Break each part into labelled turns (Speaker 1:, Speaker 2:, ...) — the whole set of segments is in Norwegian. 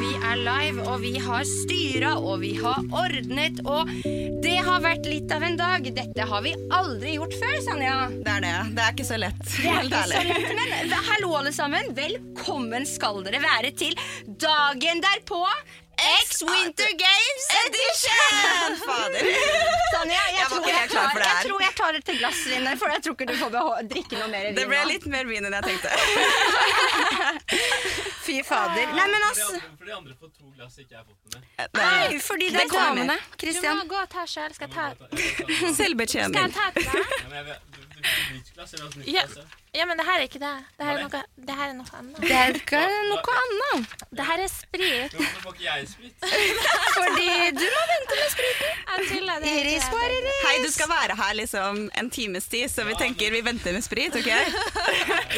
Speaker 1: Vi er live, og vi har styra, og vi har ordnet, og det har vært litt av en dag. Dette har vi aldri gjort før, Sanja.
Speaker 2: Det er det. Det er ikke så lett.
Speaker 1: Det er
Speaker 2: Helt
Speaker 1: ikke så
Speaker 2: ærlig.
Speaker 1: lett, men v- hallo, alle sammen. Velkommen skal dere være til dagen derpå. X Winter Games Edition!
Speaker 2: Fader.
Speaker 1: Sanja, jeg,
Speaker 2: Jeg var
Speaker 1: tror
Speaker 2: ikke
Speaker 1: jeg,
Speaker 2: helt klar
Speaker 1: tar,
Speaker 2: for det her.
Speaker 1: jeg tror jeg tar et glass vin, her, for jeg tror ikke du får beho- drikke noe mer vin.
Speaker 2: Det ble
Speaker 1: nå.
Speaker 2: litt mer vin enn jeg tenkte.
Speaker 1: Fy fader. Nei, men altså
Speaker 3: For de andre får to glass jeg ikke jeg har fått med.
Speaker 2: Eh,
Speaker 1: Nei, fordi det er
Speaker 2: kommer.
Speaker 1: damene.
Speaker 4: Du må
Speaker 1: Christian.
Speaker 4: gå og ta sjøl. Skal jeg ta Skal jeg
Speaker 2: Selvbetjening.
Speaker 4: ta til deg?
Speaker 3: Ja, men jeg vil, du, du vil ha nytt glass, jeg vil ha et nytt
Speaker 4: Ja.
Speaker 3: glass. ja.
Speaker 4: Ja, men det her er ikke det. Det her er noe, det her er noe annet.
Speaker 1: Det er ikke noe annet.
Speaker 4: Det her er sprit.
Speaker 3: Men hvorfor får ikke jeg sprit?
Speaker 1: Fordi du må vente med
Speaker 4: Jeg tuller. det er
Speaker 1: Iris
Speaker 4: ikke-
Speaker 1: var Iris.
Speaker 2: Hei, du skal være her liksom en times tid, så vi tenker vi venter med sprit, OK?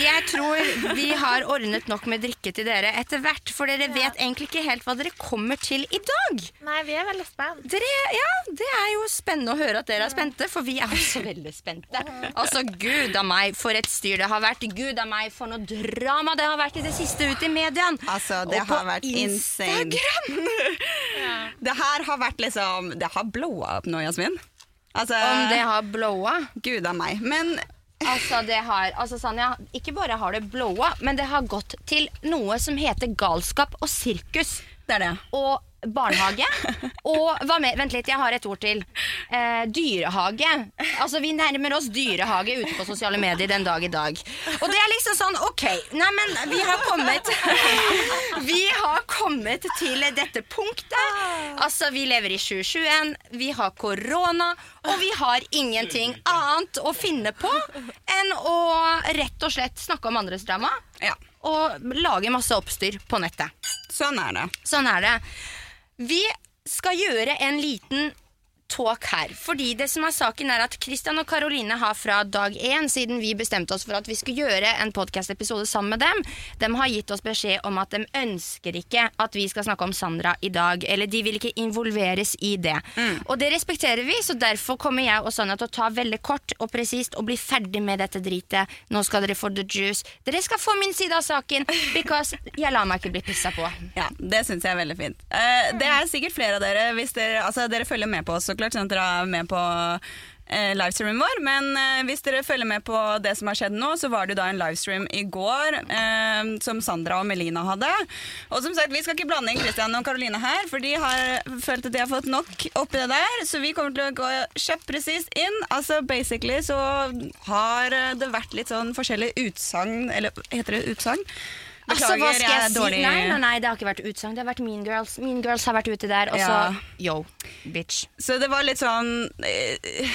Speaker 1: Jeg tror vi har ordnet nok med drikke til dere etter hvert, for dere vet egentlig ikke helt hva dere kommer til i dag.
Speaker 4: Nei, vi er veldig spent.
Speaker 1: Dere, ja, Det er jo spennende å høre at dere er spente, for vi er også veldig spente. Altså, Gud av meg, for et styr det har vært. Gud av meg, for noe drama det har vært i det siste ute i mediene.
Speaker 2: Altså, det
Speaker 1: Og på
Speaker 2: har vært insane. Det her har vært liksom Det har blowa opp nå, Jasmin. Altså
Speaker 1: Om det har blowa?
Speaker 2: Gud a meg. Men
Speaker 1: Altså, det har, altså Sanja, ikke bare har det blowa, men det har gått til noe som heter galskap og sirkus.
Speaker 2: det er det.
Speaker 1: og barnehage. Og hva mer? Vent litt, jeg har et ord til. Eh, dyrehage. Altså, vi nærmer oss dyrehage ute på sosiale medier den dag i dag. Og det er liksom sånn, ok, nei, men vi har kommet Vi har kommet til dette punktet. Altså, vi lever i 2021, vi har korona, og vi har ingenting annet å finne på enn å rett og slett snakke om andres drama
Speaker 2: Ja.
Speaker 1: og lage masse oppstyr på nettet.
Speaker 2: Sånn er det.
Speaker 1: Sånn er det. Vi skal gjøre en liten talk her. Fordi det som er saken er at Christian og Caroline har fra dag én, siden vi bestemte oss for at vi skulle gjøre en podcast-episode sammen med dem, de har gitt oss beskjed om at de ønsker ikke at vi skal snakke om Sandra i dag. Eller de vil ikke involveres i det. Og det respekterer vi, så derfor kommer jeg og Sanja til å ta veldig kort og presist og bli ferdig med dette dritet. Nå skal dere få the juice. Dere skal få min side av saken, because jeg lar meg ikke bli pissa på.
Speaker 2: Ja, Det syns jeg er veldig fint. Eh, det er sikkert flere av dere hvis dere, altså, dere følger med på oss, så klart, sånn at dere er med på eh, livestreamen vår. Men eh, hvis dere følger med på det som har skjedd nå, så var det jo da en livestream i går eh, som Sandra og Melina hadde. Og som sagt, vi skal ikke blande inn Christian og Caroline her, for de har følt at de har fått nok oppi det der. Så vi kommer til å gå kjøttpresist inn. Altså basically så har eh, det vært litt sånn forskjellige utsagn, eller heter det utsagn?
Speaker 1: Altså, hva
Speaker 2: Beklager,
Speaker 1: skal jeg,
Speaker 2: er
Speaker 1: si?
Speaker 2: dårlig-
Speaker 1: Nei, nei, nei, det har ikke vært utsagn. Det har vært Mean Girls. Mean Girls har vært ute der, og så
Speaker 2: Ja.
Speaker 1: yo, bitch.
Speaker 2: Så det var litt sånn eh,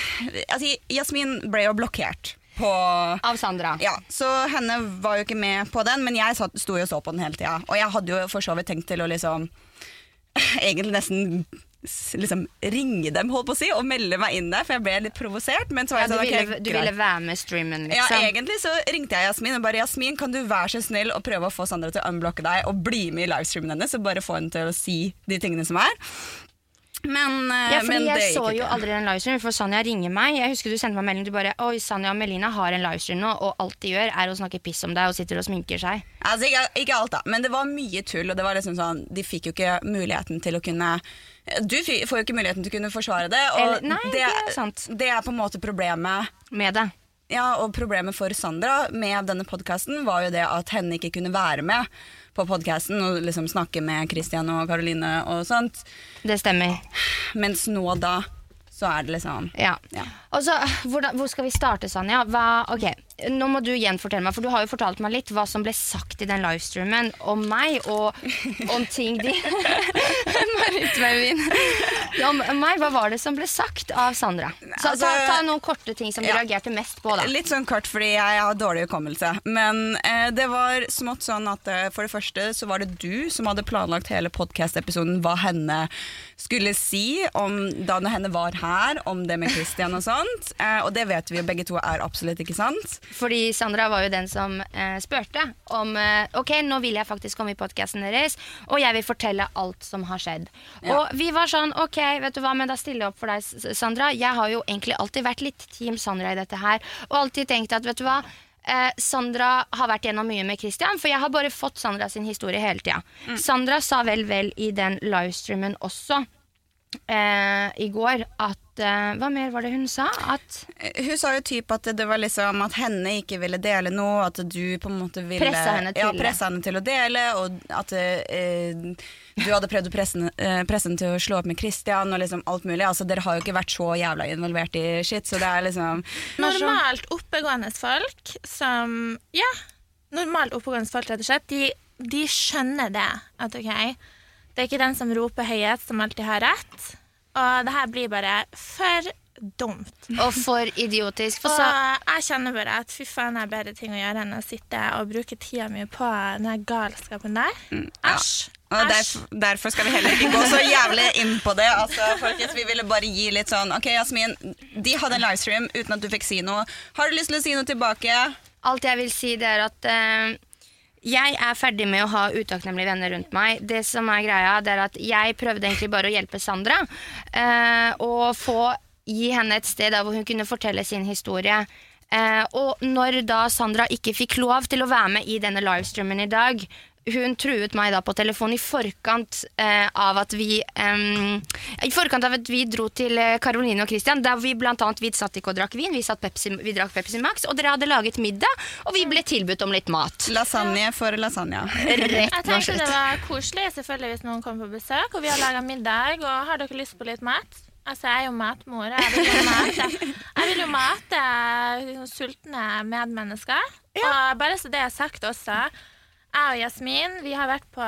Speaker 2: Altså, Jasmin ble jo blokkert på
Speaker 1: Av Sandra.
Speaker 2: ja, Så henne var jo ikke med på den, men jeg satt, sto jo og så på den hele tida. Og jeg hadde jo for så vidt tenkt til å liksom Egentlig nesten s- liksom ringe dem, holdt på å si, og melde meg inn der, for jeg ble litt provosert. Men så var
Speaker 1: Ja,
Speaker 2: jeg
Speaker 1: du,
Speaker 2: sånn, ok,
Speaker 1: ville, du
Speaker 2: greit.
Speaker 1: ville være med i streamen,
Speaker 2: Ja,
Speaker 1: liksom.
Speaker 2: egentlig så ringte jeg Jasmin og bare Jasmin, kan du være så snill å prøve å få Sandra til å unblocke deg og bli med i livestreamen hennes og bare få henne til å si de tingene som er. Men, eh,
Speaker 1: Ja, fordi
Speaker 2: men det
Speaker 1: jeg
Speaker 2: gikk
Speaker 1: så
Speaker 2: ikke.
Speaker 1: jo aldri den livestreamen, for Sanja ringer meg. Jeg husker du sendte meg melding, du bare Oi, Sanja og Melina har en livestream nå, og alt de gjør, er å snakke piss om deg og sitter og sminker seg.
Speaker 2: Altså, ikke, ikke alt, da, men det var mye tull. Og det var liksom sånn, De fikk jo ikke muligheten til å kunne Du fi- får jo ikke muligheten til å kunne forsvare det. Og
Speaker 1: Eller- nei, det er sant.
Speaker 2: det er på en måte problemet.
Speaker 1: Med det.
Speaker 2: Ja, og problemet for Sandra med denne podkasten var jo det at henne ikke kunne være med på podkasten og liksom snakke med Christian og Caroline og sånt.
Speaker 1: Det stemmer.
Speaker 2: Mens nå da, så er det liksom
Speaker 1: Ja.
Speaker 2: Ja.
Speaker 1: Og så, hvordan, hvor skal vi starte, Sanja? Hva, ok, Nå må du gjenfortelle meg, for du har jo fortalt meg litt hva som ble sagt i den livestreamen om meg og om ting de Marit med vin. Ja, om meg, hva var det som ble sagt av Sandra? Så, ta,
Speaker 2: altså-
Speaker 1: ta noen korte ting som du
Speaker 2: Ja.
Speaker 1: reagerte mest på, da.
Speaker 2: Litt sånn kort fordi jeg har dårlig hukommelse. Men eh, det var smått sånn at eh, for det første så var det du som hadde planlagt hele podkast-episoden hva henne skulle si om da henne var her, om det med Christian og sånt. Eh, og det vet vi jo begge to er absolutt ikke sant.
Speaker 1: Fordi Sandra var jo den som eh, spurte om eh, Ok, nå vil jeg faktisk komme i podkasten deres, og jeg vil fortelle alt som har skjedd. Og vi var sånn Ok, vet du hva, men da stiller jeg opp for deg, S- S- Sandra. Jeg har jo egentlig alltid vært litt Team Sandra i dette her, og alltid tenkt at vet du hva Eh, Sandra har vært gjennom mye med Christian, for jeg har bare fått Sandra sin historie hele tida. Sandra sa vel vel i den livestreamen også eh, i går at eh, Hva mer var det hun sa? At
Speaker 2: Eh, Hun sa jo typ at det var liksom at henne ikke ville dele noe, at du på en måte ville
Speaker 1: Pressa henne til
Speaker 2: ja,
Speaker 1: det.
Speaker 2: pressa henne til å dele, og at eh, du hadde prøvd å presse henne, eh, presse henne til å slå opp med Christian og liksom alt mulig. Altså, dere har jo ikke vært så jævla involvert i shit, så det er liksom
Speaker 4: Normalt oppegående folk som Ja, normalt oppegående folk, rett og slett, de, de skjønner det. At OK, det er ikke den som roper høyest, som alltid har rett. Og det her blir bare for dumt.
Speaker 1: Og for idiotisk. For
Speaker 4: Og
Speaker 1: så,
Speaker 4: jeg kjenner bare at fy faen, jeg har bedre ting å gjøre enn å sitte og bruke tida mi på den her galskapen der.
Speaker 1: Mm,
Speaker 4: Æsj.
Speaker 2: Og
Speaker 4: Æsj.
Speaker 2: derfor, derfor skal vi heller ikke gå så jævlig inn på det. Altså, folkens, Vi ville bare gi litt sånn OK, Jasmin, de hadde en livestream uten at du fikk si noe. Har du lyst til å si noe tilbake?
Speaker 1: Alt jeg vil si, det er at eh, jeg er ferdig med å ha utakknemlige venner rundt meg. Det som er greia, det er at jeg prøvde egentlig bare å hjelpe Sandra. eh, og få gi henne et sted der hvor hun kunne fortelle sin historie. Eh, og når da Sandra ikke fikk lov til å være med i denne livestreamen i dag, hun truet meg da på telefon i forkant eh, av at vi em, I forkant av at vi dro til eh, Caroline og Christian, der vi blant annet vi satt ikke og drakk vin, vi, satt Pepsi, vi drakk Pepsi Max, og dere hadde laget middag, og vi ble tilbudt om litt mat.
Speaker 2: Lasagne for lasagne.
Speaker 4: Jeg
Speaker 1: Rett og
Speaker 4: tenkte det
Speaker 1: slett.
Speaker 4: var koselig selvfølgelig hvis noen kommer på besøk, og vi har laga middag. Og har dere lyst på litt mat? Altså, jeg er jo matmor. og Jeg vil jo mate, jeg vil jo mate liksom, sultne medmennesker. Og bare så det er sagt også. Jeg og Jasmin vi har vært på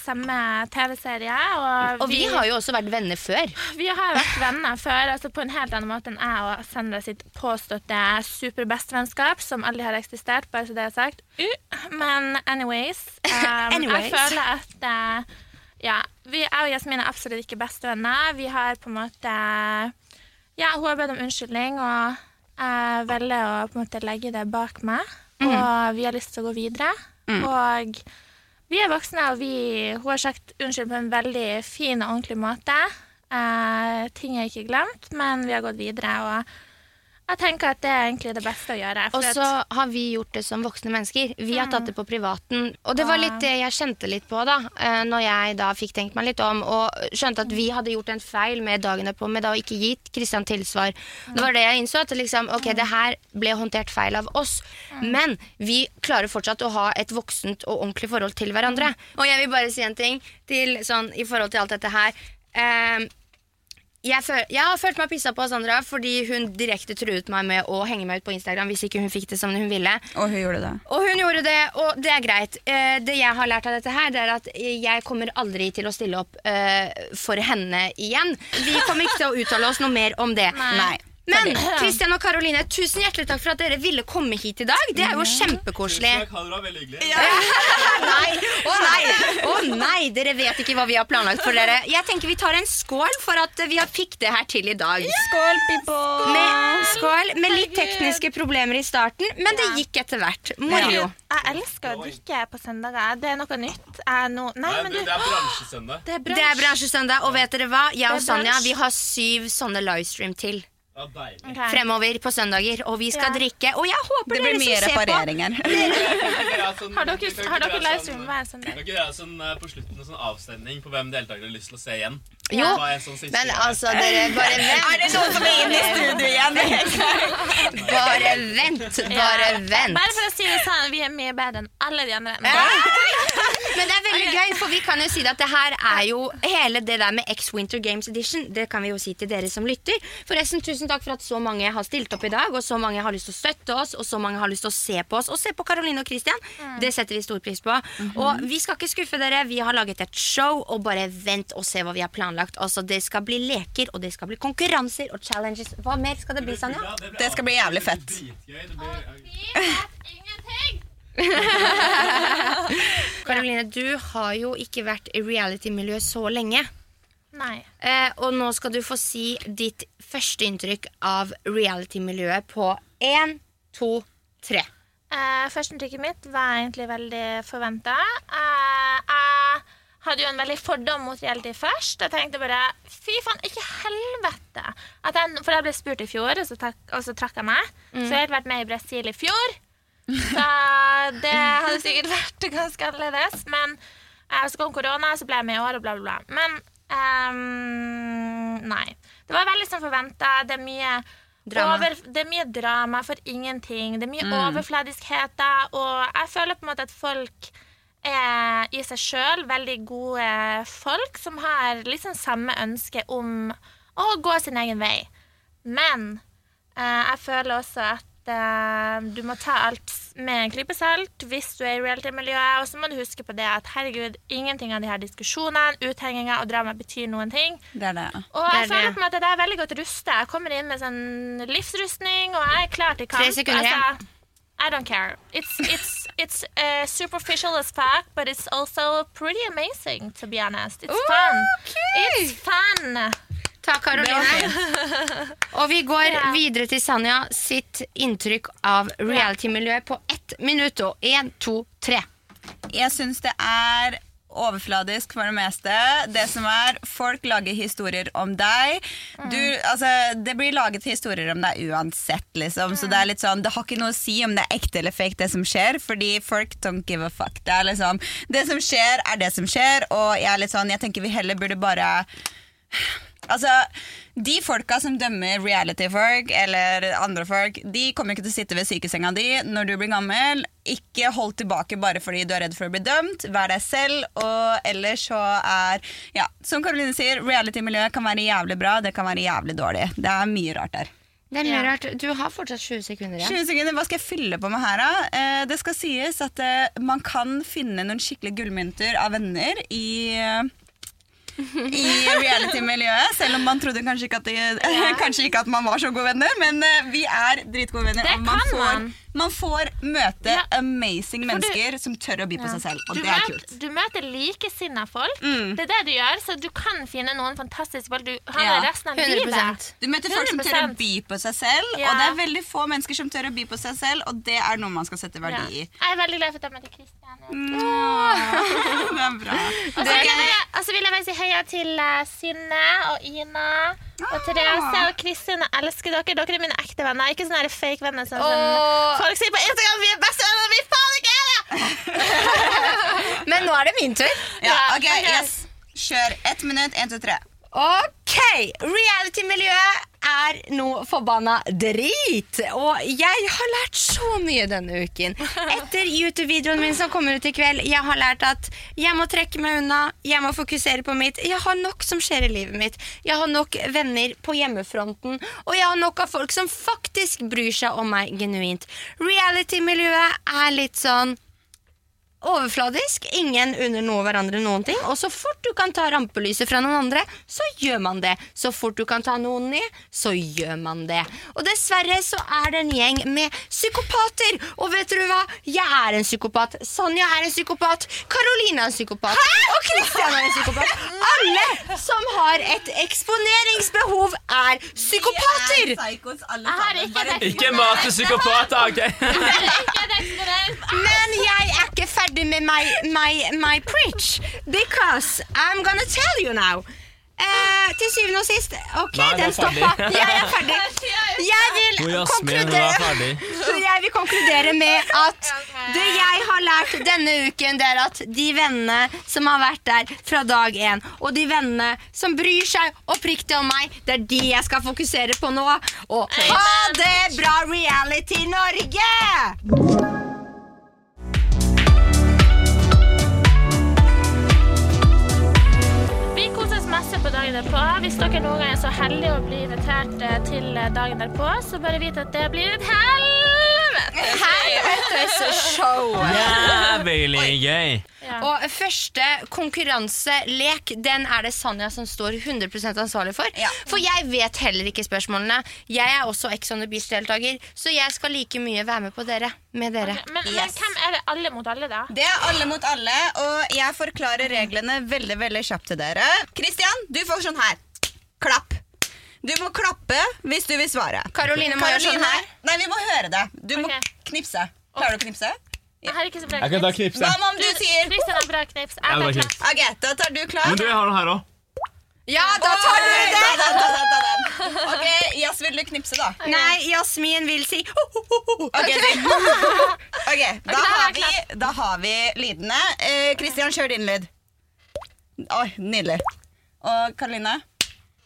Speaker 4: samme TV-serie. Og,
Speaker 1: Og vi har jo også vært venner før.
Speaker 4: vi har vært venner før, altså på en helt annen måte enn jeg og Sandra sitt påståtte superbestvennskap, som aldri har eksistert, bare så det er sagt. Uh, Men anyways, um,
Speaker 1: Anyways.
Speaker 4: jeg føler at eh, ja, vi, jeg og Jasmin er absolutt ikke bestevenner. Vi har på en måte Ja, hun har bedt om unnskyldning, og jeg velger å på en måte legge det bak meg.
Speaker 1: Mm.
Speaker 4: Og vi har lyst til å gå videre. Og vi er voksne, og vi, hun har sagt unnskyld på en veldig fin og ordentlig måte. Eh, ting er ikke glemt, men vi har gått videre. Og jeg tenker at det er egentlig det beste å gjøre.
Speaker 1: Og
Speaker 4: at-
Speaker 1: så har vi gjort det som voksne mennesker. Vi har
Speaker 4: Mm.
Speaker 1: tatt det på privaten. Og det var litt det jeg kjente litt på da eh, Når jeg da fikk tenkt meg litt om og skjønte at vi hadde gjort en feil med dagene på med da å ikke gitt Kristian tilsvar. Det var det jeg innså. At liksom, ok, det her ble håndtert feil av oss.
Speaker 4: Mm.
Speaker 1: Men vi klarer fortsatt å ha et voksent og ordentlig forhold til hverandre.
Speaker 4: Mm.
Speaker 1: Og jeg vil bare si en ting til, sånn, i forhold til alt dette her. Eh, jeg, føl jeg har følt meg pissa på av Sandra fordi hun direkte truet meg med å henge meg ut på Instagram hvis ikke hun fikk det som hun ville.
Speaker 2: Og hun gjorde det.
Speaker 1: Og hun gjorde det, og det er greit. Eh, det jeg har lært av dette her, det er at jeg kommer aldri til å stille opp eh, for henne igjen. Vi kommer ikke til å uttale oss noe mer om det.
Speaker 2: Nei.
Speaker 1: Men Christian og Karoline, tusen hjertelig takk for at dere ville komme hit i dag. Det er jo kjempekoselig.
Speaker 3: Tusen takk, ha det bra. Veldig hyggelig.
Speaker 1: Nei, å nei, å nei, dere vet ikke hva vi har planlagt for dere. Jeg tenker vi tar en skål for at vi har fikk det her til i dag.
Speaker 2: Skål, people!
Speaker 1: Med, skål, med litt
Speaker 4: Herregud.
Speaker 1: tekniske problemer i starten, men det gikk etter hvert. Moro.
Speaker 2: Ja.
Speaker 4: Jeg elsker å drikke på søndager. Det er noe nytt. Jeg er no Nei,
Speaker 3: Nei,
Speaker 4: men
Speaker 3: det,
Speaker 4: du
Speaker 3: det er bransjesøndag.
Speaker 4: Det er
Speaker 1: Det er bransjesøndag, og vet dere hva? Jeg og
Speaker 4: Det er
Speaker 1: Sonja
Speaker 4: bransj.
Speaker 1: vi har syv sånne livestream til
Speaker 3: Ja, deilig.
Speaker 4: Ok.
Speaker 1: fremover på søndager. Og vi skal
Speaker 4: Ja.
Speaker 1: drikke. Og jeg håper
Speaker 2: Det liksom
Speaker 1: dere
Speaker 2: blir mye
Speaker 1: som ser på
Speaker 2: repareringer.
Speaker 3: sånn-
Speaker 4: Har dere, har dere livestream hver søndag?
Speaker 3: Kan ikke dere ha sånn eh, på slutten en sånn avstemning på hvem deltakerne har lyst til å se igjen?
Speaker 1: Jo,
Speaker 3: Ta en sånn siste
Speaker 1: Men
Speaker 3: gang.
Speaker 1: altså, dere bare
Speaker 2: Er det
Speaker 1: vent.
Speaker 2: noen som er inne i studio igjen?
Speaker 1: Bare vent. Bare
Speaker 4: Bare
Speaker 1: vent.
Speaker 4: for å si det sånn, vi er mye bedre enn alle de andre. Men,
Speaker 1: Men det er veldig gøy, for vi kan jo si at det her er jo hele det der med X Winter Games Edition. Det kan vi jo si til dere som lytter. Forresten, tusen takk for at så mange har stilt opp i dag, og så mange har lyst til å støtte oss, og så mange har lyst til å se på oss. Og se på Caroline og Christian. Det setter vi stor pris på. Og vi skal ikke skuffe dere. Vi har laget et show, og bare vent og se hva vi har planlagt. Altså, det skal bli leker, og det skal bli konkurranser og challenges. Hva mer skal det bli, Sanja?
Speaker 2: Det skal bli jævlig fett.
Speaker 3: Dritgøy, det blir...
Speaker 1: Caroline, du har jo ikke vært i reality-miljøet så lenge.
Speaker 4: Nei.
Speaker 1: Eh, og nå skal du få si ditt første inntrykk av reality-miljøet på én, to, tre.
Speaker 4: Eh, Førsteinntrykket mitt var egentlig veldig forventa. Eh, jeg hadde jo en veldig fordom mot reality først. Jeg tenkte bare fy faen, ikke helvete! At jeg, for jeg ble spurt i fjor, og så, tak, og så trakk jeg meg. Så jeg har vært med i Brasil i fjor. Så det hadde sikkert vært ganske annerledes. Men eh, så kom korona, så ble jeg med i år, og bla, bla, bla. Men ehm, nei. Det var veldig som forventa. Det er mye
Speaker 1: Drama.
Speaker 4: over det er mye drama for ingenting. Det er mye overfladiskheter. Og jeg føler på en måte at folk er i seg sjøl veldig gode folk som har liksom samme ønske om å gå sin egen vei. Men eh, jeg føler også at eh, du må ta alt med en klype salt hvis du er i reality-miljøet. Og så må du huske på det at herregud, ingenting av de her diskusjonene, uthenginga og drama betyr noen ting.
Speaker 2: Det er det.
Speaker 4: Og
Speaker 1: Det er
Speaker 4: jeg føler
Speaker 1: det.
Speaker 4: på meg at jeg er veldig godt rustet. Jeg kommer inn med sånn livsrustning, og jeg er klar til kamp.
Speaker 1: Tre sekunder igjen.
Speaker 4: Altså, I don't care. It's, it's, it's uh, superficial as fuck, but it's also pretty amazing, to be honest. It's fun. It's fun.
Speaker 1: Takk, Karoline. Og vi går
Speaker 4: Ja.
Speaker 1: videre til Sanja sitt inntrykk av reality-miljøet på ett minutt og én, to, tre.
Speaker 2: Jeg syns det er overfladisk for det meste. Det som er, Folk lager historier om deg. Du, altså, det blir laget historier om deg uansett, liksom. Så det er litt sånn, det har ikke noe å si om det er ekte eller fake, det som skjer, fordi folk don't give a fuck. Det, er liksom, det som skjer, er det som skjer, og jeg er litt sånn, jeg tenker vi heller burde bare Altså, De folka som dømmer reality-folk eller andre folk, de kommer ikke til å sitte ved sykesenga di når du blir gammel. Ikke hold tilbake bare fordi du er redd for å bli dømt. Vær deg selv. Og ellers så er Ja, som Karoline sier, reality-miljøet kan være jævlig bra, det kan være jævlig dårlig. Det er mye rart der.
Speaker 1: Det er mye rart. Du har fortsatt 20 sekunder igjen.
Speaker 2: 20 sekunder, Hva skal jeg fylle på med her, da? Eh, det skal sies at eh, man kan finne noen skikkelige gullmynter av venner i eh, i reality-miljøet, selv om man trodde kanskje ikke, at det, kanskje ikke at man var så gode venner. Men eh, vi er dritgode venner. og
Speaker 4: Det kan
Speaker 2: får,
Speaker 4: man.
Speaker 2: man får møte
Speaker 4: Ja.
Speaker 2: amazing mennesker som tør å by på seg selv, og
Speaker 4: Du,
Speaker 2: det er
Speaker 4: møter-
Speaker 2: kult. Mm.
Speaker 4: du møter likesinna folk. Det er det du gjør, så du kan finne noen fantastiske folk du har
Speaker 2: Ja,
Speaker 4: med resten av
Speaker 1: 100
Speaker 4: livet.
Speaker 2: Du møter folk som tør å
Speaker 4: 100%.
Speaker 2: by på seg selv,
Speaker 4: Ja.
Speaker 2: og det er veldig få mennesker som tør å by på seg selv, og det er noe man skal sette
Speaker 4: Ja.
Speaker 2: verdi i.
Speaker 4: Jeg er veldig glad for at jeg møtte Kristian.
Speaker 2: Mm. Det er bra.
Speaker 4: Og så vil jeg bare- og så vil jeg bare si heia til eh, Synne og Ina og Therese og Kristin. Jeg elsker dere. Dere er mine ekte venner. Ikke sånne her fake venner som,
Speaker 1: Åh.
Speaker 4: som folk sier på Instagram. Vi er bestevenner! Vi faen ikke er det!
Speaker 1: Men nå er det min tur.
Speaker 2: Ja,
Speaker 4: Ja,
Speaker 2: ok,
Speaker 4: ok.
Speaker 2: yes. Kjør. Ett minutt, én, to, tre.
Speaker 1: Ok, reality-miljøet er noe forbanna drit. Og jeg har lært så mye denne uken. Etter YouTube-videoen min som kommer ut i kveld, jeg har lært at jeg må trekke meg unna, jeg må fokusere på mitt. Jeg har nok som skjer i livet mitt. Jeg har nok venner på hjemmefronten, og jeg har nok av folk som faktisk bryr seg om meg genuint. Reality-miljøet er litt sånn overfladisk, ingen under noe hverandre noen ting, og så fort du kan ta rampelyset fra noen andre, så gjør man det. Så fort du kan ta noen ned, så gjør man det. Og dessverre så er det en gjeng med psykopater, og vet du hva? Jeg er en psykopat, Sonja er en psykopat, Karoline er en psykopat, og Kristian er en psykopat. Alle som har et eksponeringsbehov er psykopater!
Speaker 4: Jeg har ikke et eksponent.
Speaker 3: Ikke mat til psykopater, OK?
Speaker 4: Jeg har ikke et eksponent.
Speaker 1: Men jeg er ikke ferdig med my, my, my preach. Because I'm gonna tell you now. Eh, til syvende og sist Ok,
Speaker 3: Nei,
Speaker 1: den
Speaker 3: jeg er ferdig.
Speaker 1: stoppa. Jeg er ferdig. Jeg vil konkludere Så jeg vil konkludere med at det jeg har lært denne uken, det er at de vennene som har vært der fra dag én, og de vennene som bryr seg oppriktig om meg, det er de jeg skal fokusere på nå. Og ha det bra, Reality Norge!
Speaker 4: er så heldig å bli invitert eh, til dagen derpå, så bare vit at det blir et helvete.
Speaker 1: Helvetes show!
Speaker 3: Jævlig gøy!
Speaker 4: Ja.
Speaker 1: Og første konkurranselek, den er det Sanja som står 100 ansvarlig for.
Speaker 2: Ja.
Speaker 1: For jeg vet heller ikke spørsmålene. Jeg er også Ex on the Beach-deltaker, så jeg skal like mye være med på dere. Med dere.
Speaker 4: Men, men
Speaker 2: Yes.
Speaker 4: hvem er det alle mot alle, da?
Speaker 2: Det er alle mot alle, og jeg forklarer reglene veldig veldig kjapt til dere. Kristian, du får sånn her. Klapp. Du må klappe hvis du vil svare.
Speaker 1: Karoline må gjøre sånn
Speaker 2: Karoline-
Speaker 1: her.
Speaker 2: Nei, vi må høre det. Du må
Speaker 4: Ok.
Speaker 2: knipse. Klarer du å knipse?
Speaker 4: Jeg har ikke så bra
Speaker 3: Jeg kan ta
Speaker 4: knips.
Speaker 3: knipse.
Speaker 2: Hva om du sier
Speaker 4: Kristian har bra knips.
Speaker 3: Ja,
Speaker 4: Jeg
Speaker 3: bra
Speaker 4: tar
Speaker 3: knips.
Speaker 4: knapp.
Speaker 2: OK, da tar du klar.
Speaker 3: Men du, jeg har den her òg.
Speaker 1: Ja, da tar du
Speaker 2: Oi,
Speaker 1: det!
Speaker 2: da, da, da, da, da, da. OK, Jazz, vil du knipse, da?
Speaker 1: Nei, Jasmin vil si
Speaker 2: Ok, du- Ok, da,
Speaker 4: da er
Speaker 2: har
Speaker 4: jeg
Speaker 2: vi, da har vi lydene. Eh, Kristian, kjør din lyd. Oi, nydelig. Og Karoline?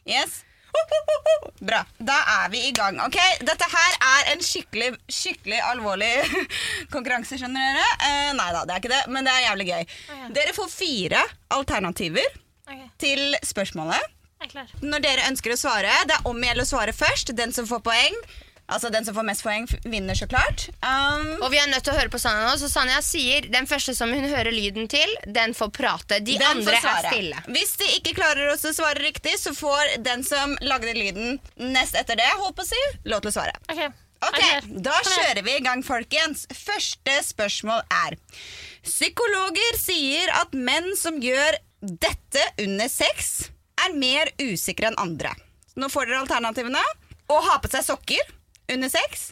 Speaker 2: Yes. Bra. Da er vi i gang. ok? Dette her er en skikkelig skikkelig alvorlig konkurranse, skjønner dere. Eh, nei da, det er ikke det, men det er jævlig gøy.
Speaker 4: ja.
Speaker 2: Dere får fire alternativer
Speaker 4: Ok,
Speaker 2: til spørsmålet.
Speaker 4: jeg er klar.
Speaker 2: Når dere ønsker å svare, det er om å gjelde å svare først. Den som får poeng, altså den som får mest poeng, f- vinner så klart. Um,
Speaker 1: Og vi er nødt til å høre på Sanja nå, så Sanja sier den første som hun hører lyden til, den får prate. De
Speaker 2: den får
Speaker 1: andre er
Speaker 2: svare.
Speaker 1: stille.
Speaker 2: Hvis de ikke klarer også å svare riktig, så får den som lagde lyden nest etter det, holdt på å si, lov til å svare.
Speaker 4: Ok, jeg er
Speaker 2: Ok,
Speaker 4: klar.
Speaker 2: Da
Speaker 4: Kom igjen.
Speaker 2: kjører vi i gang, folkens. Første spørsmål er Psykologer sier at menn som gjør dette under sex, er mer usikre enn andre. Nå får dere alternativene. Å ha på seg sokker under sex.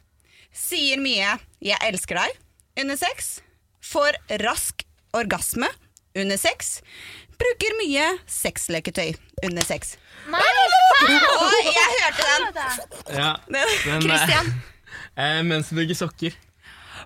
Speaker 2: Sier mye 'jeg elsker deg' under sex. Får rask orgasme under sex. Bruker mye sexleketøy under sex.
Speaker 4: Nei,
Speaker 2: Og jeg hørte den.
Speaker 4: faen!
Speaker 3: Ja. Den, eh,
Speaker 1: Christian.
Speaker 3: Eh, mens du bygger sokker.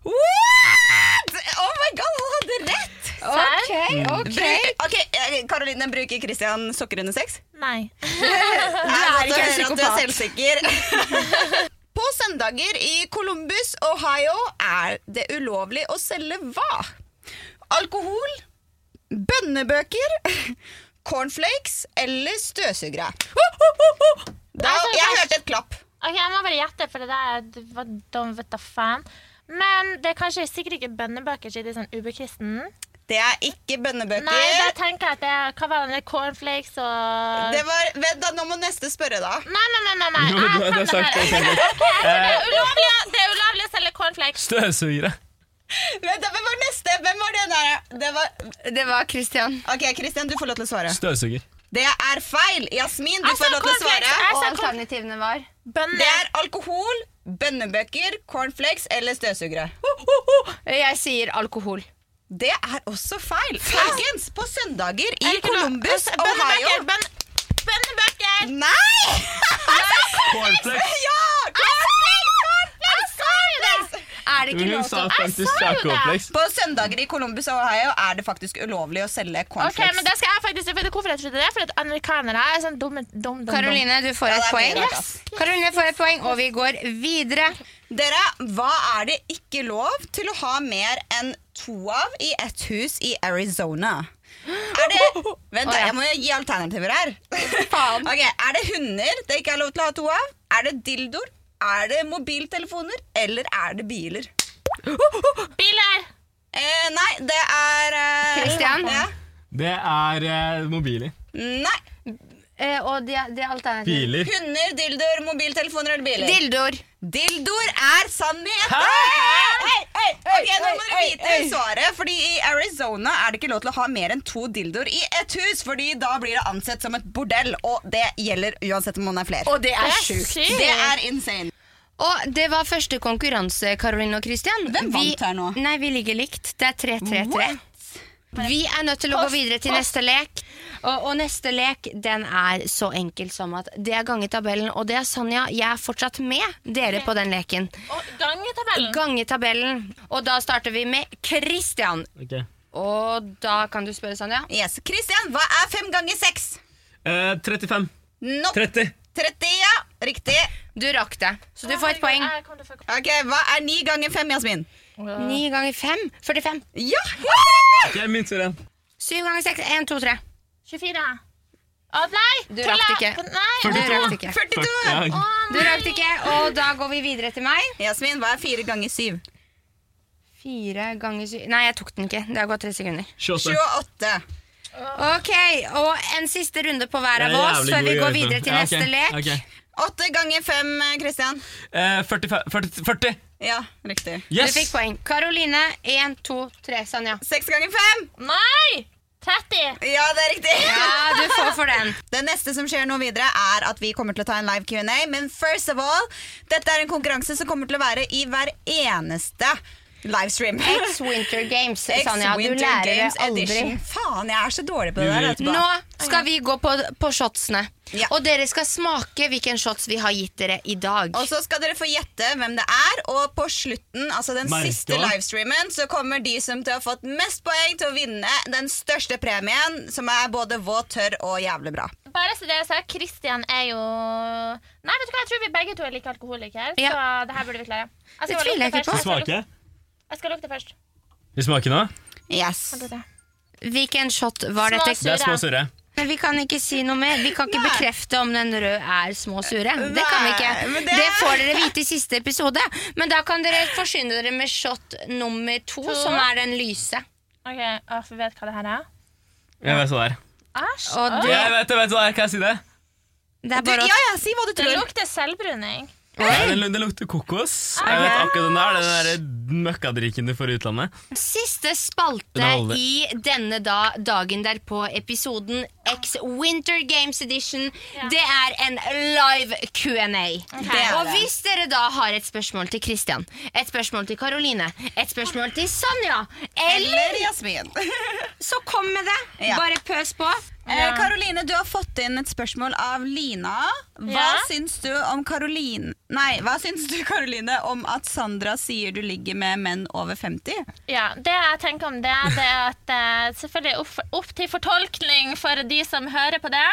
Speaker 2: What? Oh my god, han hadde rett!
Speaker 4: Ok,
Speaker 2: Bruk- Ok, eh, Karoline bruker Christian sokker under sex.
Speaker 4: Nei.
Speaker 2: Du
Speaker 1: er ikke en
Speaker 2: Du er selvsikker. På søndager i Columbus, Ohio, er det ulovlig å selge hva? Alkohol, bønnebøker, cornflakes eller støvsugere? Da, jeg hørte et klapp.
Speaker 4: Ok, Jeg må bare gjette, for det der det var dum, vet da faen. Men det er kanskje sikkert ikke bønnebøker, siden det er sånn ubekristen.
Speaker 2: Det er ikke
Speaker 4: Nei, da
Speaker 2: bønnebøker.
Speaker 4: tenker jeg at det er hva var det, cornflakes og
Speaker 2: Det var, vent da, nå må neste spørre, da.
Speaker 4: Nei, nei, nei, nei, nei.
Speaker 3: Jo, du- du har
Speaker 4: Jeg kan det
Speaker 3: sagt det
Speaker 4: her.
Speaker 3: selv.
Speaker 4: Ok, så det er ulovlig, det er ulovlig å selge cornflakes.
Speaker 3: Støvsugere.
Speaker 2: Vent da, Hvem var neste? Hvem var det der? Det var,
Speaker 1: Det var Christian.
Speaker 2: ok, Christian, du får lov til å svare.
Speaker 3: Støvsuger.
Speaker 2: Det er feil! Jasmin, du
Speaker 4: Jeg sa
Speaker 2: får lov til å
Speaker 4: cornflakes,
Speaker 2: svare.
Speaker 4: jeg
Speaker 1: Og
Speaker 4: sa corn-
Speaker 1: alternativene var
Speaker 2: Det
Speaker 4: Bønner.
Speaker 2: er alkohol, bønnebøker, cornflakes eller støvsugere.
Speaker 1: Jeg sier alkohol.
Speaker 2: Det er også feil. Folkens, på søndager i
Speaker 4: Er det ikke noe-
Speaker 2: Columbus,
Speaker 4: altså,
Speaker 2: Ohio
Speaker 4: Bønnebøker! bønn- Bønnebøker!
Speaker 2: Nei!
Speaker 3: Cornflakes.
Speaker 2: Ja!
Speaker 4: Jeg sa jo det!
Speaker 1: Er det ikke
Speaker 3: Hun
Speaker 1: lov
Speaker 3: sa
Speaker 1: til Ah,
Speaker 3: faktisk
Speaker 4: sa jo det.
Speaker 3: cornflakes.
Speaker 2: På søndager i Columbus, Ohio er det faktisk ulovlig å selge
Speaker 4: Ok,
Speaker 2: cornflakes.
Speaker 4: men det skal jeg faktisk vet du Hvorfor jeg trodde det? Fordi at amerikanere er sånn dumme dum, dum, dum.
Speaker 1: Karoline, du får
Speaker 2: Ja,
Speaker 1: et
Speaker 2: det er
Speaker 1: poeng.
Speaker 2: mye rart, ass.
Speaker 1: Karoline får et poeng, og vi går videre.
Speaker 2: Dere, hva er det ikke lov til å ha mer enn to av i ett hus i Arizona? Er det Vent, da, jeg må jo gi alternativer her.
Speaker 1: Faen.
Speaker 2: Ok, Er det hunder det ikke er lov til å ha to av? Er det dildoer? Er det mobiltelefoner? Eller er det biler?
Speaker 4: Biler!
Speaker 2: Eh, nei, det er eh,
Speaker 1: Christian?
Speaker 2: Ja.
Speaker 3: Det er eh, mobiler.
Speaker 2: Nei.
Speaker 1: Eh, og det de alternativet
Speaker 3: Biler.
Speaker 2: Hunder, dildoer, mobiltelefoner eller biler?
Speaker 1: Dildoer.
Speaker 2: Dildoer er sannhet! Ok, Nå må dere vite svaret, Fordi i Arizona er det ikke lov til å ha mer enn to dildoer i ett hus. Fordi da blir det ansett som et bordell, og det gjelder uansett om man er flere.
Speaker 1: Og det er sjukt.
Speaker 4: sykt.
Speaker 2: Det er insane.
Speaker 1: Og det var første konkurranse, Karoline og Christian.
Speaker 2: Hvem vant her nå?
Speaker 1: Nei, vi ligger likt. Det er 3-3-3. Vi er nødt til å gå videre til neste lek. Og, og neste lek den er så enkel som at det er gangetabellen, og det er Sanja. Jeg er fortsatt med dere på den leken.
Speaker 4: Og gangetabellen.
Speaker 1: Gangetabellen. Og da starter vi med Christian.
Speaker 3: Okay.
Speaker 1: Og da kan du spørre, Sanja.
Speaker 2: Yes, Christian, hva er fem ganger seks?
Speaker 3: Eh, 35.
Speaker 2: Nope.
Speaker 3: 30.
Speaker 2: 30, ja. Riktig.
Speaker 1: Du rakk det, så du får et poeng.
Speaker 4: Jeg kommer til å få-
Speaker 2: Ok, Hva er ni ganger fem, Jasmin? Eh.
Speaker 1: Ni ganger fem 45.
Speaker 2: Ja, helt riktig!
Speaker 3: Jeg mynter en.
Speaker 1: Syv ganger seks 1, 2, 3.
Speaker 4: 24. Å nei!
Speaker 1: Du rakk det ikke.
Speaker 4: Nei,
Speaker 1: Du
Speaker 4: å,
Speaker 1: rakk det ikke.
Speaker 2: 42!
Speaker 3: Ja.
Speaker 4: å,
Speaker 1: Du rakk det ikke, og da går vi videre til meg.
Speaker 2: Jasmin, hva er fire ganger syv?
Speaker 1: Fire ganger syv Nei, jeg tok den ikke. Det har gått tre sekunder.
Speaker 3: 28.
Speaker 2: 28.
Speaker 1: Ok, Og en siste runde på hver av
Speaker 3: Jeg er
Speaker 1: oss
Speaker 3: jævlig
Speaker 1: før vi
Speaker 3: god i
Speaker 1: går
Speaker 3: å
Speaker 1: videre
Speaker 3: gjøre
Speaker 1: til
Speaker 3: sånn.
Speaker 1: neste
Speaker 3: Ja,
Speaker 1: lek.
Speaker 3: ok, ok.
Speaker 2: Åtte ganger fem, Kristian.
Speaker 3: Eh, 45, 40, 40.
Speaker 2: Ja, riktig.
Speaker 1: Du
Speaker 3: Yes!
Speaker 1: fikk poeng. Karoline, én, to, tre. Sanja.
Speaker 2: Seks ganger fem!
Speaker 4: nei! 30!
Speaker 2: Ja, det er riktig.
Speaker 1: Ja, du får for den.
Speaker 2: Det neste som skjer nå videre er at vi kommer til å ta en live Q&A, men first of all, dette er en konkurranse som kommer til å være i hver eneste livestream.
Speaker 1: X Winter Games, Sanja. Du
Speaker 2: Winter
Speaker 1: lærer det
Speaker 2: Games
Speaker 1: aldri.
Speaker 2: Edition. Faen, jeg er så dårlig på
Speaker 3: Du
Speaker 2: det der altså.
Speaker 3: vil-
Speaker 2: etterpå.
Speaker 1: Nå skal vi gå på, på shotsene.
Speaker 2: Ja.
Speaker 1: Og dere skal smake hvilken shots vi har gitt dere i dag.
Speaker 2: Og så skal dere få gjette hvem det er, og på slutten, altså den
Speaker 3: Merker.
Speaker 2: siste livestreamen, så kommer de som til å ha fått mest poeng til å vinne den største premien, som er både våt, tørr og jævlig bra.
Speaker 4: Bare så det er sagt, Kristian er jo Nei, vet du hva, jeg tror vi begge to er like alkoholikere,
Speaker 1: Ja.
Speaker 4: så det her burde vi klare. Jeg
Speaker 1: Det
Speaker 4: bare
Speaker 1: tviler jeg
Speaker 4: lukte
Speaker 1: ikke på.
Speaker 4: først, skal lukte-
Speaker 3: Smake.
Speaker 4: Jeg skal lukte først.
Speaker 3: Vi smaker nå.
Speaker 2: Yes.
Speaker 1: Hvilken shot var
Speaker 4: Små
Speaker 1: dette?
Speaker 3: Det er små surre.
Speaker 1: Men vi kan ikke si noe mer. Vi kan ikke
Speaker 2: Nei.
Speaker 1: bekrefte om den røde er små og sure. Det kan vi
Speaker 2: Nei,
Speaker 1: ikke.
Speaker 2: men
Speaker 1: Det
Speaker 2: det-
Speaker 1: får dere vite i siste episode. Men da kan dere forsyne dere med shot nummer to, som er den lyse.
Speaker 4: OK, jeg får vet hva det her er.
Speaker 3: Jeg vet hva det er.
Speaker 4: Æsj.
Speaker 1: Og
Speaker 4: Åh,
Speaker 1: du,
Speaker 3: Jeg vet, jeg vet hva det er. Kan jeg si det?
Speaker 1: det er
Speaker 2: Du,
Speaker 1: bare
Speaker 2: ja,
Speaker 1: å
Speaker 2: ja, si hva du
Speaker 4: Det
Speaker 2: tror.
Speaker 4: lukter selvbruning.
Speaker 3: Nei, det, det lukter kokos. Jeg vet akkurat den der. Den der møkkadrikken du får i utlandet.
Speaker 1: Siste spalte
Speaker 3: Den holder.
Speaker 1: i denne da, dagen derpå, episoden X Winter Games Edition. Det er en live Q&A.
Speaker 2: er
Speaker 1: Og
Speaker 2: det.
Speaker 1: hvis dere da har et spørsmål til Christian, et spørsmål til Karoline, et spørsmål til Sonja, eller
Speaker 2: Eller Jasmin.
Speaker 1: så kom med det.
Speaker 2: Ja.
Speaker 1: Bare pøs på.
Speaker 2: Eh, Karoline, du har fått inn et spørsmål av Lina. Hva
Speaker 4: Ja.
Speaker 2: syns du om Karoline Nei, hva syns du, Karoline, om at Sandra sier du ligger med menn over 50?
Speaker 4: Ja, det jeg tenker om det, det er at eh, selvfølgelig opp, opp til fortolkning for de som hører på det.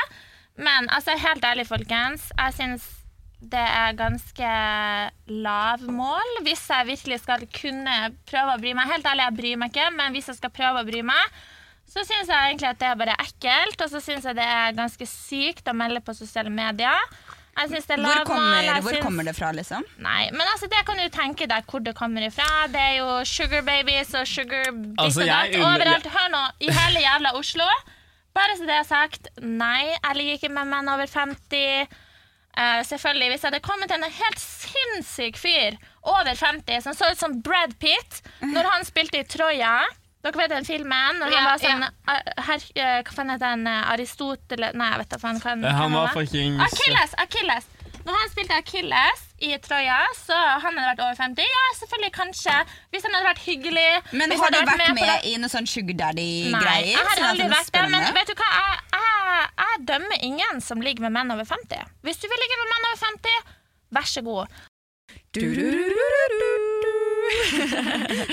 Speaker 4: Men altså, helt ærlig, folkens, jeg syns det er ganske lav mål. Hvis jeg virkelig skal kunne prøve å bry meg. Helt ærlig, jeg bryr meg ikke, men hvis jeg skal prøve å bry meg, så syns jeg egentlig at det er bare ekkelt. Og så syns jeg det er ganske sykt å melde på sosiale medier. Jeg synes det er
Speaker 2: Hvor
Speaker 4: lav mål,
Speaker 2: kommer,
Speaker 4: jeg
Speaker 2: hvor
Speaker 4: synes-
Speaker 2: kommer det fra, liksom?
Speaker 4: Nei, men altså, det kan du tenke deg hvor det kommer ifra. Det er jo sugar babies og sugar ditt
Speaker 3: Altså,
Speaker 4: og
Speaker 3: jeg
Speaker 4: datt
Speaker 3: unner-
Speaker 4: overalt. Hør nå, i hele jævla Oslo. Bare så det er sagt, nei, jeg ligger ikke med menn over 50. Eh, selvfølgelig, hvis jeg hadde kommet til en helt sinnssyk fyr over 50 som så ut som Brad Pitt når han spilte i Troja Dere vet den filmen? Når han
Speaker 1: Ja,
Speaker 4: var sånn eh, her, eh, Hva faen heter han? eh, Aristoteles Nei, jeg vet da faen. hva
Speaker 3: Eh, Han
Speaker 4: hvem
Speaker 3: var fucking
Speaker 4: Achilles, Achilles. Når han spilte Achilles i Troja, så han hadde vært over 50. Ja, selvfølgelig, kanskje. Hvis han hadde vært hyggelig.
Speaker 2: Men
Speaker 4: hvis
Speaker 2: har
Speaker 4: han
Speaker 2: du
Speaker 4: hadde
Speaker 2: vært med,
Speaker 4: på det-
Speaker 2: i noen sånn sugar
Speaker 4: Nei,
Speaker 2: daddy-greier?
Speaker 4: jeg har
Speaker 2: Sånn at
Speaker 4: aldri
Speaker 2: det er
Speaker 4: vært det, men
Speaker 2: spennende?
Speaker 4: vet du hva? Jeg, jeg, jeg dømmer ingen som ligger med menn over 50. Hvis du vil ligge med menn over 50, vær så god.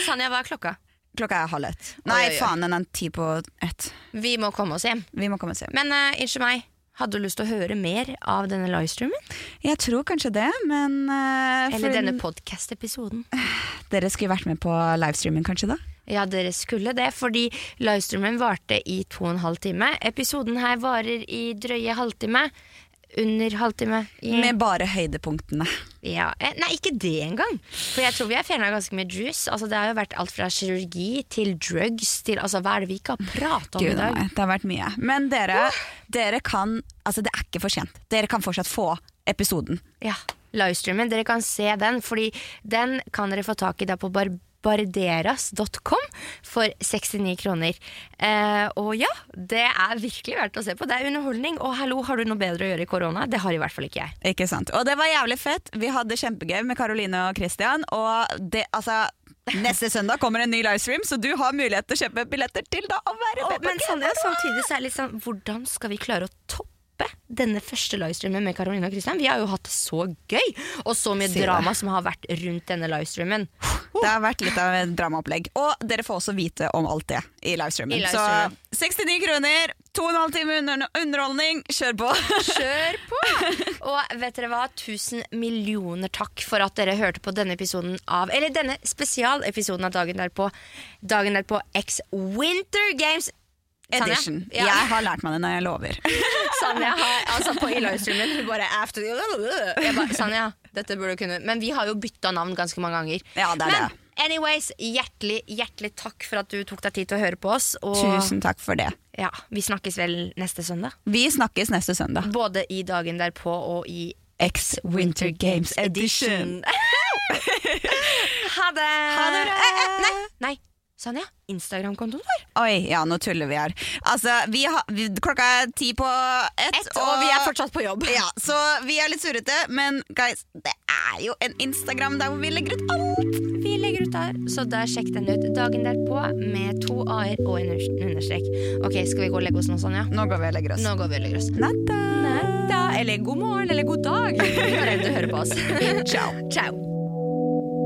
Speaker 1: Sanja, hva er klokka?
Speaker 2: Klokka er halv ett. Nei,
Speaker 1: Oi, oi, oi.
Speaker 2: faen, den er ti på ett.
Speaker 1: Vi må komme oss hjem.
Speaker 2: Vi må komme oss hjem.
Speaker 1: Men eh, unnskyld meg, hadde du lyst til å høre mer av denne livestreamen?
Speaker 2: Jeg tror kanskje det, men eh, for-
Speaker 1: Eller denne podcast-episoden?
Speaker 2: Dere skulle vært med på livestreamen, kanskje? da?
Speaker 1: Ja, dere skulle det, fordi livestreamen varte i to og en halv time. Episoden her varer i drøye halvtime. Under halvtime. I,
Speaker 2: Med bare høydepunktene.
Speaker 1: ja. eh, Nei, ikke det engang. For jeg tror vi har fjerna ganske mye juice. Altså, det har jo vært alt fra kirurgi til drugs til altså, Hva er det vi ikke har prata om
Speaker 2: Gud,
Speaker 1: i dag?
Speaker 2: nei, det har vært mye. Men dere, dere kan Altså, det er ikke for sent. Dere kan fortsatt få episoden.
Speaker 1: Ja, livestreamen. Dere kan se den, fordi den kan dere få tak i da på barbarderas.com for 69 kroner. Eh, og ja, det er virkelig verdt å se på. Det er underholdning. Og hallo, har du noe bedre å gjøre i korona? Det har i hvert fall ikke jeg.
Speaker 2: Ikke sant? Og det var jævlig fett. Vi hadde kjempegøy med Karoline og Christian. Og det, altså, neste søndag kommer en ny livestream, så du har mulighet til å kjøpe billetter til da. Og være med på
Speaker 1: men Sandra, samtidig så er det litt sånn, hvordan skal vi klare å toppe denne første livestreamen med Karoline og Christian? Vi har jo hatt det så gøy, og så mye
Speaker 2: Si det.
Speaker 1: drama som har vært rundt denne livestreamen.
Speaker 2: Det har vært litt av et dramaopplegg. Og dere får også vite om alt det i livestreamen.
Speaker 1: I livestreamen.
Speaker 2: Så 69 kroner, 2,5 timer under underholdning, kjør på!
Speaker 1: Kjør på! Og vet dere hva? Tusen millioner takk for at dere hørte på denne episoden av Eller denne spesialepisoden av Dagen derpå. Dagen derpå X Winter Games Sanja?
Speaker 2: Edition.
Speaker 1: Ja.
Speaker 2: Jeg har lært meg det når jeg lover.
Speaker 1: Sanja har altså på i livestreamen hun bare after Jeg bare, Sanja, dette burde du kunne Men vi har jo bytta navn ganske mange ganger.
Speaker 2: Ja, det er
Speaker 1: Men
Speaker 2: det.
Speaker 1: anyways, hjertelig, hjertelig takk for at du tok deg tid til å høre på oss. Og
Speaker 2: Tusen takk for det.
Speaker 1: ja, vi snakkes vel neste søndag?
Speaker 2: Vi snakkes neste søndag.
Speaker 1: Både i dagen derpå og i
Speaker 2: X Winter Games Edition.
Speaker 1: ha det!
Speaker 2: Ha det bra!
Speaker 1: Eh, eh, nei, nei, Sanja. Instagram-kontoen vår.
Speaker 2: Oi, ja, nå tuller vi her. Altså, vi har, vi, klokka er ti på ett,
Speaker 1: Ett, og vi er fortsatt på jobb.
Speaker 2: Ja, så vi er litt surrete, men guys, det er jo en Instagram der hvor vi legger ut alt!
Speaker 1: Vi legger ut der, så da sjekk den ut dagen derpå med to a-er og en unders- understrek. Ok, skal vi gå og legge oss nå, Sanja?
Speaker 2: Nå går vi og legger oss.
Speaker 1: Nå går vi og legger oss.
Speaker 2: Natta!
Speaker 1: Da, eller god morgen, eller god dag. Vi er redd du hører på oss.
Speaker 2: Ciao.
Speaker 1: Ciao.